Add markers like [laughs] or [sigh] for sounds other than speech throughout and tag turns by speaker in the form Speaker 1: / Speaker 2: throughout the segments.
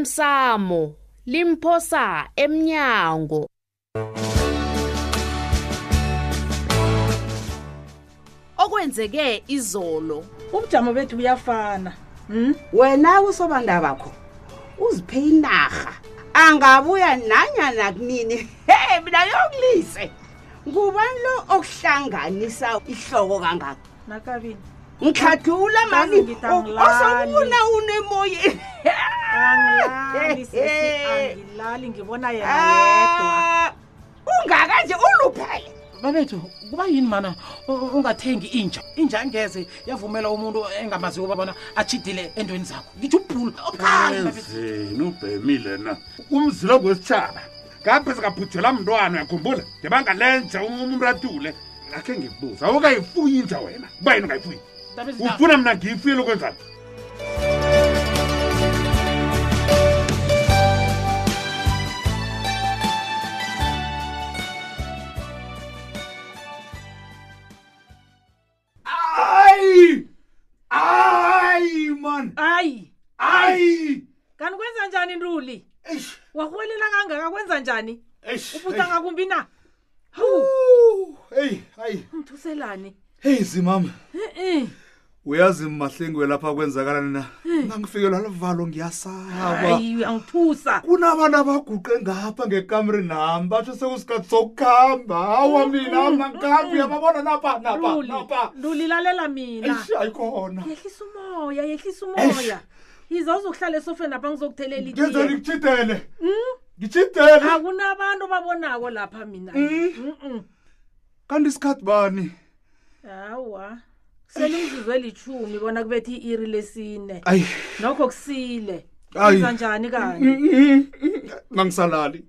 Speaker 1: osemsamo limphosa emnyango okwenzeke izolo
Speaker 2: ubujamo bethu buyafana Hmm?
Speaker 3: wena kusobanda bakho uziphe inarha angabuya nanyana kunini he mina yokulise ngubani lo okuhlanganisa ihloko kangaka
Speaker 2: nakabini
Speaker 3: ngikhathula mani
Speaker 2: Ngithi angilali.
Speaker 3: osakubona unemoyeni
Speaker 4: Ah,
Speaker 2: angilali sesi angilali ngibona yena yedwa
Speaker 3: Ah, ungaka nje uluphele
Speaker 5: babethu kuba yini mana u- u- ungathengi inja inja angeze yavumela umuntu engamaziwo uba bona atshidile endweni zakho ngitsho ubhulu obukhali babethu.
Speaker 6: ezeni ubhemile na umzilo kwesitshaba kaphe singabhujela mntwana uyakhumbula ngebanga lenja umuntu atule um, akhe ngikubuza awukayifuyi inja wena kuba yini ungayifuyi
Speaker 5: Babethu, na-
Speaker 6: ufuna mna ngiyifuyele ukwenzani
Speaker 7: ayi ayi man
Speaker 2: hayi
Speaker 7: ayi
Speaker 2: kanti kwenza njani ntuli
Speaker 7: eish
Speaker 2: warhwelela kangaka kwenza njani
Speaker 7: eish
Speaker 2: ubhuta ngakumbi na hawu
Speaker 7: Woo, hey ayi
Speaker 2: ngithuselani
Speaker 7: hey zimama
Speaker 2: e-e
Speaker 7: uyazi mahlengwe lapha kwenzakalani na nangifikelwa luvalo ngiyasaba
Speaker 2: hayi angithusa
Speaker 7: kunabantu abaguqe ngapha ngekamri nami batsho sekusikhathi sokuhamba hawa
Speaker 2: Mm,
Speaker 7: mina mangikambi yababona napha napha
Speaker 2: ntuli
Speaker 7: napha
Speaker 2: ntuli lalela mina
Speaker 7: eish ayikhona
Speaker 2: yehlisa umoya yehlisa umoya yiza uzokuhlala esofeni apha ngizokuthelela
Speaker 7: ngenze
Speaker 2: itiye Hmm?
Speaker 7: ngitshidele ngitshidele
Speaker 2: akunabantu babonako lapha mina Mm-mm.
Speaker 7: kanti isikhathi bani
Speaker 2: hawa selimzuzwe lithumi bona kubethi i-iri lesine
Speaker 7: ayi
Speaker 2: nokho kusile
Speaker 7: Ayi. Mm,
Speaker 2: iza njani kani
Speaker 7: nangisalali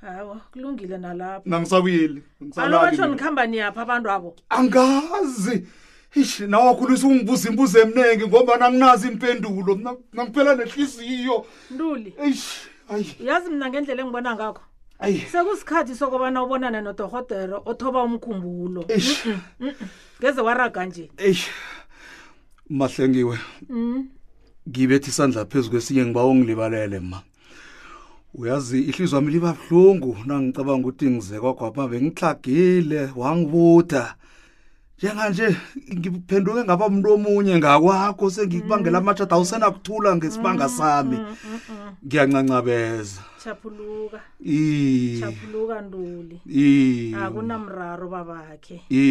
Speaker 2: hawa kulungile nalapho
Speaker 7: nangisabuyeli
Speaker 2: alo batshoni
Speaker 7: angisalali
Speaker 2: khambani yaphi abantu abo
Speaker 7: angazi ish nawakhulisa ungibuza imbuzo emningi ngoba nanginazi impendulo Mna- nangiphela nehliziyo
Speaker 2: ntuli
Speaker 7: eish ayi
Speaker 2: uyazi mina ngendlela engibona ngakho
Speaker 7: ayi
Speaker 2: sekusikhathi sokobana ubonane nodorhodere othoba umkhumbulo
Speaker 7: eish
Speaker 2: ngeze waraga nje
Speaker 7: eish mahlengiwe ngibethe isandla phezu kwesinye ngiba ungilibalele ma uyazi ihlizwa wami liba buhlungu nangicabanga ukuthi ngizekwagwapha bengihlagile wangibuda njenganje ngiphenduke ngaba mntu omunye ngakwakho sengikubangela amatshada awusenakuthula ngesibanga sami ngiyancancabeza
Speaker 2: chaphuluka
Speaker 7: i
Speaker 2: chaphuluka ntuli
Speaker 7: i
Speaker 2: akunamraro babakhe
Speaker 7: i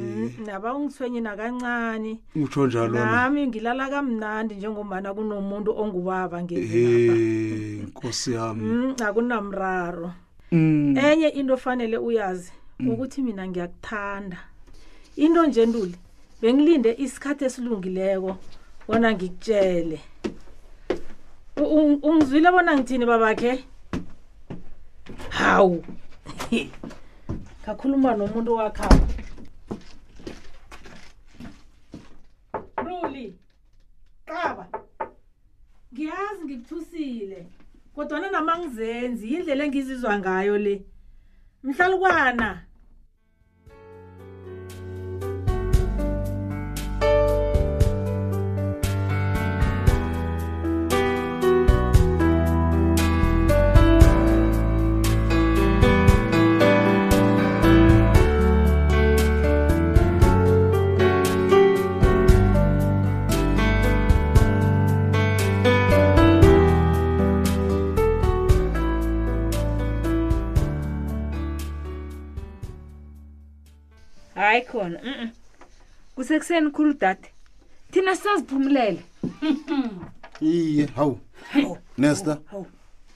Speaker 2: Mm, naba ungithwenyi nakancane
Speaker 7: utsho njalo na
Speaker 2: nami ngilala kamnandi njengombana kunomuntu ongubaba ngeapha
Speaker 7: Eh, nkosi yami
Speaker 2: Mm, akunamraro
Speaker 7: Mm.
Speaker 2: enye into ofanele uyazi ukuthi mina ngiyakuthanda into nje ntuli bengilinde isikhathi esilungileko bona ngikutshele U- u- ungizwile bona ngithini babakhe hawu [laughs] ngakhuluma nomuntu wakhapha ruli qaba ngiyazi ngikuthusile kodwana nama ngizenzi yindlela engizizwa ngayo le mhlalukwana
Speaker 4: hayi khona mm kusekuseni khulu dade thina sisaziphumulele
Speaker 8: iye hawu nesta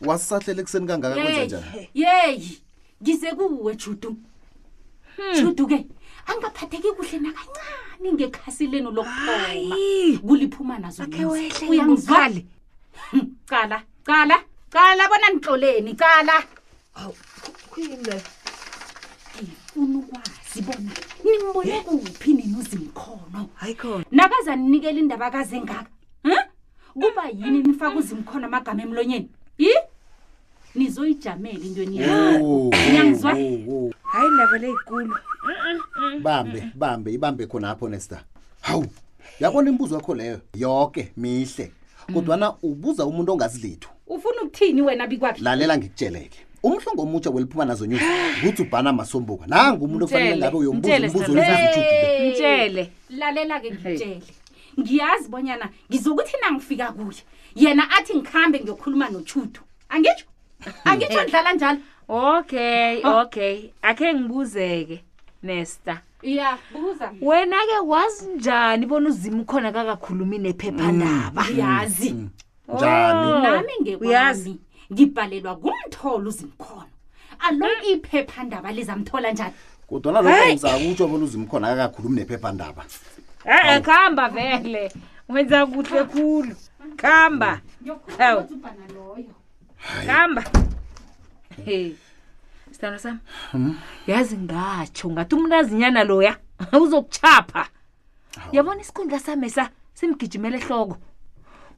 Speaker 8: wasisahlela ekuseni kangaka kwenza njani
Speaker 9: yeyi ngize kuwe judu judu ke angaphatheki kuhle nakancane ngekhasi lenu lokuphoma kuliphuma nazo lezi. Uyangizwa? Hmm, cala cala cala bona nixoleni cala ngifuna ukwazi bona nimbone kuphi nini uzimkhono Eh? hayi khona nakazanikela indaba kaze ngaka um kuba yini nifake uzimkhono amagama emlonyeni yi nizoyijamela into eniyenzako.
Speaker 8: Oh,
Speaker 9: Ngiyangizwa?
Speaker 8: oh, oh.
Speaker 4: hayi ndaba leyikulu
Speaker 8: bambe bambe ibambe khonapho nesta hawu yabona imibuzo yakho leyo yoke mihle kodwana ubuza umuntu ongazi lethu
Speaker 9: ufuna ukuthini wena bikwakhe
Speaker 8: lalela ngikutsheleke umhlongo omutsha weliphuma nazo news nguthi ubhana masombuka nangu umuntu okufanele ngabe uyombuza umbuzo nezizijudile
Speaker 4: mtshele
Speaker 9: lalela-ke ngitshele ngiyazi bonyana ngizokuthi nangifika kuye yena athi ngikhambe ngiyokhuluma nochudo angitsho angitsho ndlala njalo
Speaker 4: okay okay akhe ngibuzeke nesta
Speaker 9: ya buza
Speaker 4: wena-ke wazi njani bona uzima khona kakakhulumi nephephandaba
Speaker 9: yazi
Speaker 8: njani
Speaker 9: nami
Speaker 4: Hmm. uyazi.
Speaker 9: ngekwami ngibhalelwa kumtholo uzimkhono alo
Speaker 4: Hmm.
Speaker 9: iphephandaba lizamthola njani
Speaker 8: kodwana lokho ngizakutsho bona uzimkhona akakakhulumi nephephandaba
Speaker 4: e-e Eh, khamba vele wenza kuhle khulu khamba Hawu.
Speaker 9: ubhana loyo
Speaker 4: hamba Hey. sithando sami yazi ngatsho ngathi umnazinyana loya [laughs] uzokuchapha yabona isikhundla sami sa simgijimela ehloko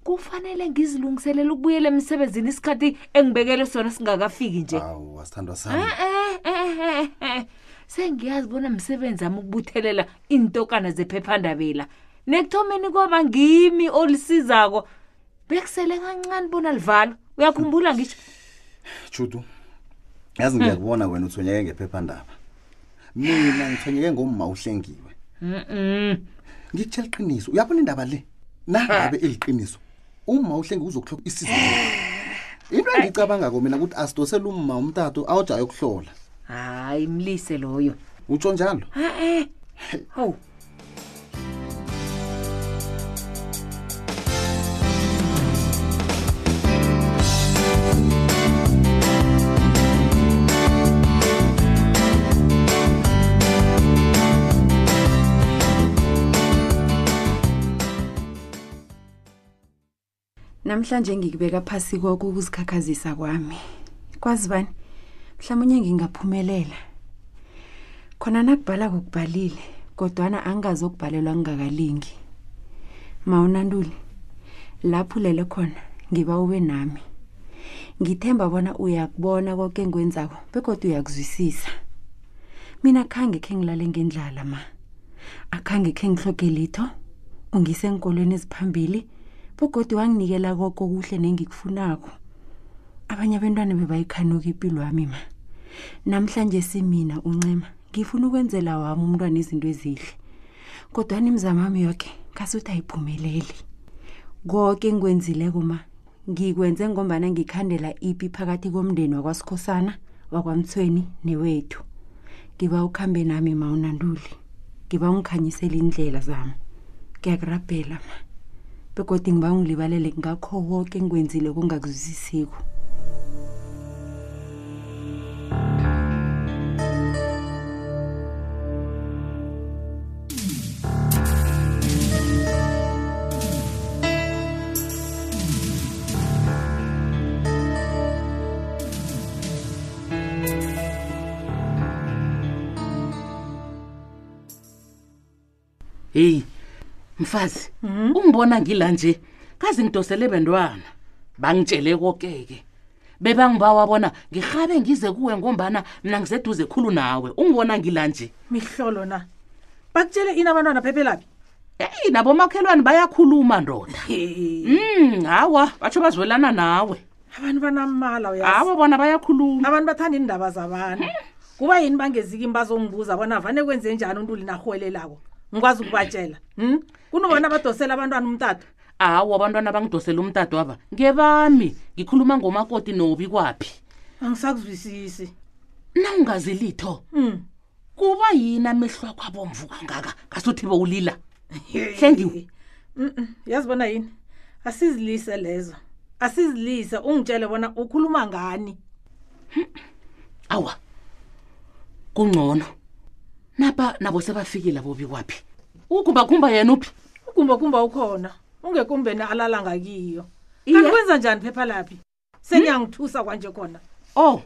Speaker 4: kufanele ngizilungiselele ukubuyela emsebenzini isikhathi engibekele sona singakafiki nje
Speaker 8: awu wasithandwa
Speaker 4: Eh,
Speaker 8: sami
Speaker 4: eh, eh, eh, eh. sengiyazi bona msebenzi ami ukubuthelela iintokana zephephandabela nekuthomeni kwaba ngimi olisizako bekusele kancane bona livalo uyakhumbula ngisho
Speaker 8: chutu yazi ngiyakubona wena uthonyeke ngephephandaba mina ngithonyeke ngomma uhlengiwe
Speaker 4: Mm-mm.
Speaker 8: ngikutshela iqiniso uyabona indaba le nangabe eliqiniso uma uhlengi uzokuhloka isizini into engiyicabangako mina ukuthi asidosele umma umtato awuja ayokuhlola
Speaker 4: hayi mlise loyo
Speaker 8: utsho njalo
Speaker 4: e-e hawu
Speaker 10: namhlanje ngikubeka phasi kokukuzikhakhazisa kwami kwazi bani mhlawumunye ngingaphumelela khona nakubhala kokubhalile kodwana angingazokubhalelwa ngingakalingi mawunantuli lapho lele khona ngiba ube nami ngithemba bona uyakubona konke engikwenzako bekodwa uyakuzwisisa mina khange khe ngilale ngendlala ma akhange khe ngihloge litho ungisenkolweni eziphambili bogodwa wanginikela koko kuhle nengikufunako abanye abantwana bebayikhanuka impilo wami ma namhlanje simina uncema ngifuna ukwenzela wami umntwana izinto ezihle kodwa nimzamo wami yoke kasuthi ayiphumeleli konke engikwenzileko ma ngikwenze ngombana ngikhandela ipi phakathi komndeni wakwasikhosana wakwamthweni newethu ngiba ukuhambe nami ma unanduli ngiba ungikhanyisele indlela zami ngiyakurabhela ma begodi ngiba ungilibalele ngakho konke engikwenzile kungakuzwisisiko
Speaker 5: heyi mfazi ungibona ngila nje kazi ngidosele bentwana bangitshele koke-ke bebangiba wabona ngirhabe ngize kuwe ngombana mna ngiseduze khulu nawe ungibona ngila nje
Speaker 2: mihlolo na bakutshele ini abantwana phephelaphi
Speaker 5: eyi nabomakhelwane bayakhuluma ndoda um hawa batsho bazwelana nawe
Speaker 2: abantu banamala uyazi
Speaker 5: hawa bona bayakhuluma
Speaker 2: abantu bathanda iindaba zabantu kuba yini bangezikimi bazongibuza bona vane kwenze njani untuli narhuwelelako ngikwazi ukubatshela um kunobona badosela abantwana umtato
Speaker 5: hawa abantwana bangidosele umtado waba ngebami ngikhuluma ngomakoti nobi kwaphi
Speaker 2: angisakuzwisisi
Speaker 5: nawungazi litho
Speaker 2: um
Speaker 5: kuba yini amehlo akho abomvu kangaka ngasuthi bowulila hlengiwe
Speaker 2: yazi bona yini asizilise lezo asizilise ungitshele bona ukhuluma ngani
Speaker 5: awa kungcono napa nabo sebafikile bobi kwaphi ukumbakhumba yena uphi
Speaker 2: ukumbakumba ukhona ungekumbeni alala ngakiyo kanti kwenza njani phepha laphi seniyangithusa kwanje khona
Speaker 5: oh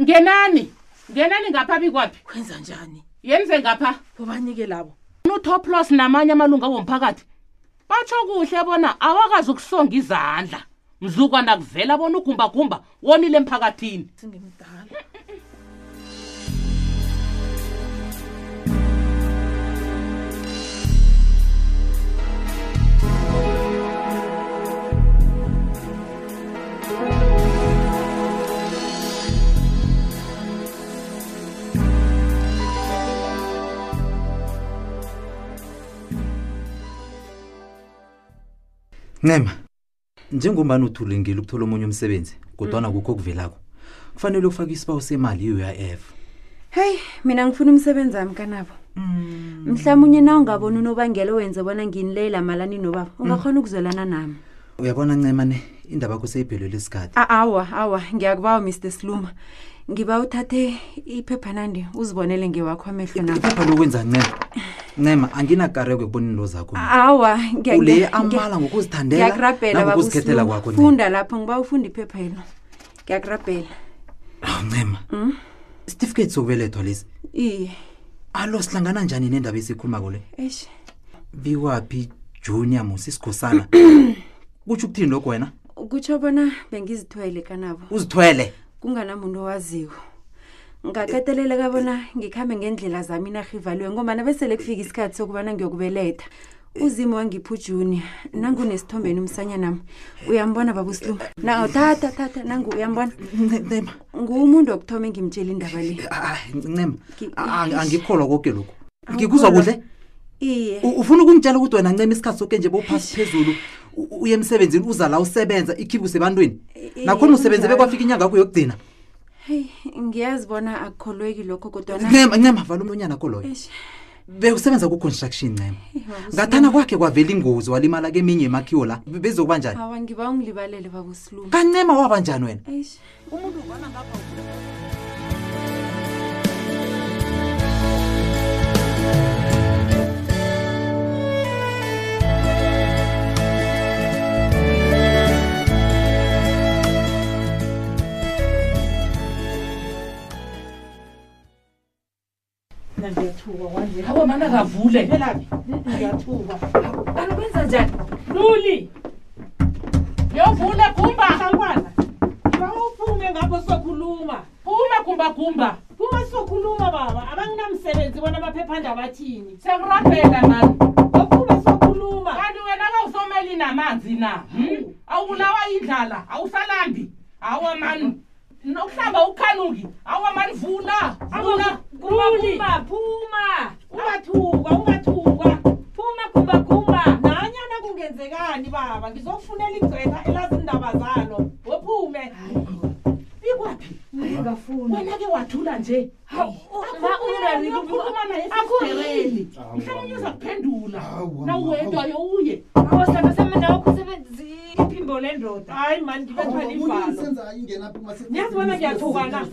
Speaker 5: ngenani ngenani ngapha bikwaphi
Speaker 2: kwenza njani
Speaker 5: yenize ngapha
Speaker 2: bobanike labo
Speaker 5: unutoplos namanye amalunga womphakathi batsho kuhle bona awakazi ukusonga izandla mzukwana kuvela bona ugumbagumba wonile emphakathini
Speaker 2: singimdala
Speaker 11: ncema njengombani uthulingile ukuthola omunye umsebenzi kodwana kukho okuvelako kufanele ufake isibawu semali i-uif
Speaker 10: heyi mina ngifuna umsebenzi wami kanabo Mm. mhlawumunye na ungaboni unobangela owenze bona nginilela malani nobaba ungakhona ukuzwelana nami
Speaker 11: uyabona ncema ne indaba yakho seyiphelelwe isikhathi
Speaker 10: A- awa awa ngiyakubawa mr sluma ngiba uthathe iphephanandi uzibonele ngewakho amehlo nami
Speaker 11: iphapha lokwenza ncema ncema anginakareko ekubonini into zakho
Speaker 4: Ah.
Speaker 11: mina.
Speaker 10: awa ngiya-
Speaker 11: Ule
Speaker 10: ngiya-
Speaker 11: amala ngokuzithandela
Speaker 10: ngiyakurabhela
Speaker 11: nangokuzikhethela
Speaker 10: babuSluma.
Speaker 11: kwakho, Ncema.
Speaker 10: funda lapho ngiba ufunda iphephelo ngiyakurabhela
Speaker 11: Awu, ncema
Speaker 4: Hmm?
Speaker 11: isitifiketi sokubelethwa lesi
Speaker 10: iye
Speaker 11: alo sihlangana njani nendaba esikhulumako le
Speaker 10: eish
Speaker 11: biwaphi junior musisikhosana kutsho ukuthini lokho wena
Speaker 10: kutsho bona bengizithwele kanabo
Speaker 11: uzithwele
Speaker 10: kunganamuntu owaziwo ngakateleleka bona ngikhambe ngendlela zami inarhivaliwe ngombana besele kufika isikhathi sokubana ngiyokubeletha uzimo wangipha ujunior nangunesithombeni umsanyanami uyambona babusilunga naw thatha thatha nangu uyambona
Speaker 11: ncema
Speaker 10: ngumuntu wokuthoma engimtshela indaba le
Speaker 11: Hayi, ncema
Speaker 10: Ngi-
Speaker 11: a- a- Ah, angikholwa konke lokhu ngikuzwa
Speaker 10: Awukholwa?
Speaker 11: kuhle
Speaker 10: iye
Speaker 11: U- ufuna ukungitshela ukuthi wena ncema isikhathi soke nje bowuphasi phezulu u- uye emsebenzini uza la usebenza ikhibe usebantwini
Speaker 10: Eh,
Speaker 11: nakhona usebenze
Speaker 10: kunjalo.
Speaker 11: bekwafika inyanga yakho yokugcina
Speaker 10: heyi ngiyazi bona akukholweki lokho kodwana
Speaker 7: [laughs]
Speaker 11: ncema ncema vala umlonyana kho loyo
Speaker 10: Eish,
Speaker 11: bewusebenza ku-construction ncema
Speaker 10: eh, babuSlungu.
Speaker 11: ngathana kwakhe kwavela ingozi walimala keminye emakhiwo la Be- bezokuba njani
Speaker 10: awa ngiba ungilibalele babusilunga
Speaker 11: kancema waba njani wena
Speaker 10: eish
Speaker 2: Mina ngiyathuka kwanje
Speaker 5: awa mana kavule
Speaker 2: Velaphi? ngiyathuka
Speaker 4: kwenza njani
Speaker 2: luli
Speaker 5: yovula gumba
Speaker 2: mhlakwana bawuphume ngapho sokhuluma
Speaker 5: phuma gumbagumba
Speaker 2: phuma sokhuluma baba abanginamsebenzi bona amaphephandaba athini
Speaker 5: sekurabhela nani
Speaker 2: ophuma sokhuluma
Speaker 5: kanti wena kawusomeli namanzi na hmm? awubulawa yindlala awusalambi awa mani nokuhlamba ukhanuki awa mani vula vula
Speaker 4: kumba phuma
Speaker 2: ungathuka ungathuka
Speaker 4: phuma kumbakumba
Speaker 2: nanyana kungenzekani baba ngizokufunela igcwetha elazi indaba zalo wephume ikwaphi wena-ke wathula nje akhuluma naye sesigereni mhlawumbe uza kuphendula nawuwedwa youye
Speaker 4: iphimbo lendoda
Speaker 2: hayi mani ngibethwa livalo Niyazi bona ngiyathuka na?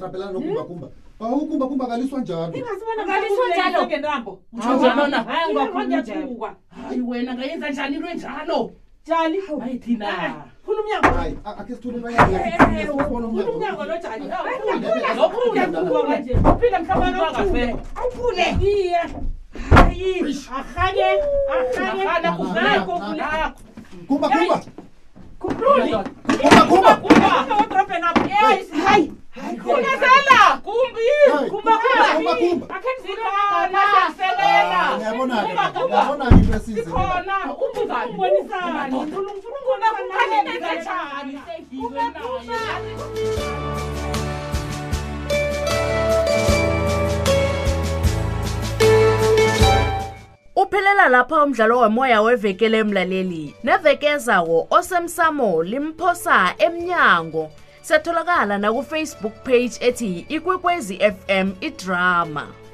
Speaker 7: bawukumbakumba kaliswa njalo
Speaker 2: ingazibona
Speaker 4: Ngaliswa njalo.
Speaker 2: ngentambo
Speaker 5: Utsho njalo na?
Speaker 2: hayi ungakhona ngiyathuka
Speaker 5: hayi wena ngayenza njani into enjalo
Speaker 2: jali
Speaker 5: hayi thina
Speaker 7: Eh,
Speaker 2: khulumnyango
Speaker 7: hayi a- akhe sithule bayasibona
Speaker 2: umnyango
Speaker 7: umnyaka
Speaker 2: lo jali
Speaker 7: Eh,
Speaker 5: Lokhula.
Speaker 2: ngiyathuka kanje uphinde mhlawumbe
Speaker 5: Akafeki.
Speaker 2: awufune iye
Speaker 7: eh.
Speaker 2: hayi ahake ahake
Speaker 5: Ahana
Speaker 2: nakho
Speaker 5: kuvula.
Speaker 2: kule
Speaker 7: Ah,
Speaker 5: Nakho.
Speaker 7: kumba kumba
Speaker 2: kubruli
Speaker 7: kumba kumba
Speaker 2: udrobhenapho yes hayi
Speaker 5: khulazela kumbi
Speaker 7: Hey, kumba, kumba. Ah,
Speaker 5: akhe ndizilonaaselela
Speaker 7: yabona ke into esize
Speaker 5: khona
Speaker 2: umbonisani ngifuna ukubona kanenenzetshani
Speaker 1: Uphelela lapha umdlalo womoya wevekele emlaleli. Nevekezawo osemsamo limphosa emnyango. Setholakala na ku Facebook page ethi Ikwekwezi FM iDrama.